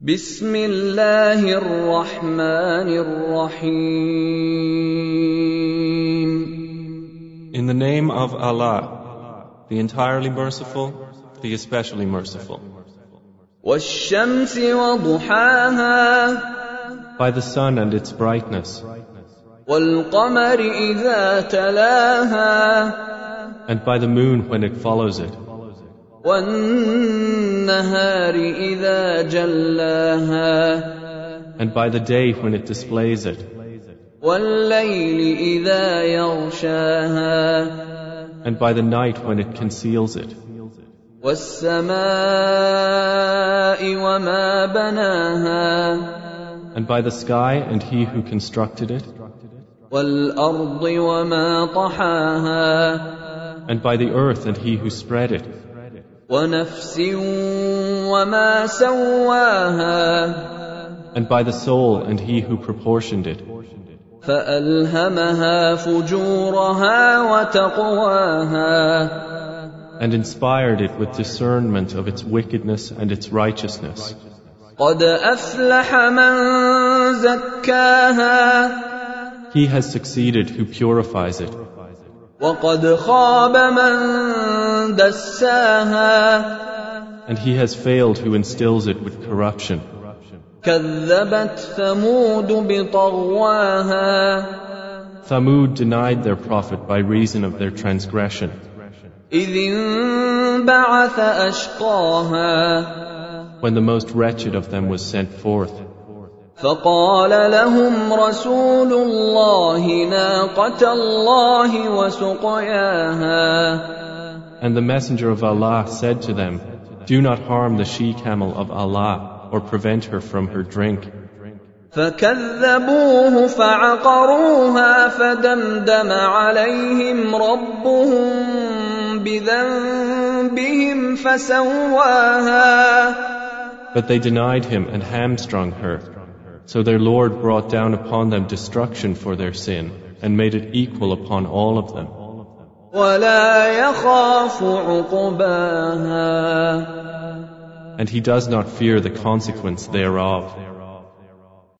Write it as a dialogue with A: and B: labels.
A: بسم الله الرحمن الرحيم
B: In the name of Allah, the entirely merciful, the especially merciful.
A: والشمس وضحاها
B: By the sun and its brightness,
A: والقمر إذا تلاها
B: and by the moon when it follows it,
A: والنهار إذا جلاها
B: and by the day when it displays it,
A: والليل إذا يغشاها
B: and by the night when it conceals it,
A: والسماء وما بناها
B: and by the sky and he who constructed it,
A: والارض وما طحاها
B: and by the earth and he who spread it,
A: ونفس وما سواها
B: and by the soul and he who proportioned it.
A: فالهمها فجورها وتقواها
B: And inspired it with discernment of its wickedness and its righteousness.
A: قد افلح من زكاها
B: He has succeeded who purifies it,
A: وقد خاب من دساها
B: and he has failed who instills it with corruption.
A: كذبت ثمود بطغواها
B: Thamud denied their prophet by reason of their transgression,
A: إذ انبعث أشقاها
B: when the most wretched of them was sent forth.
A: فقال لهم رسول الله ناقة الله وسقياها
B: And the messenger of Allah said to them, Do not harm the she camel of Allah, or prevent her from her drink.
A: فكذبوه فعقروها فدمدم عليهم ربهم بذنبهم فسواها
B: But they denied him and hamstrung her. So their Lord brought down upon them destruction for their sin, and made it equal upon all of them.
A: ولا يخاف عقباها
B: And he does not fear the consequence thereof.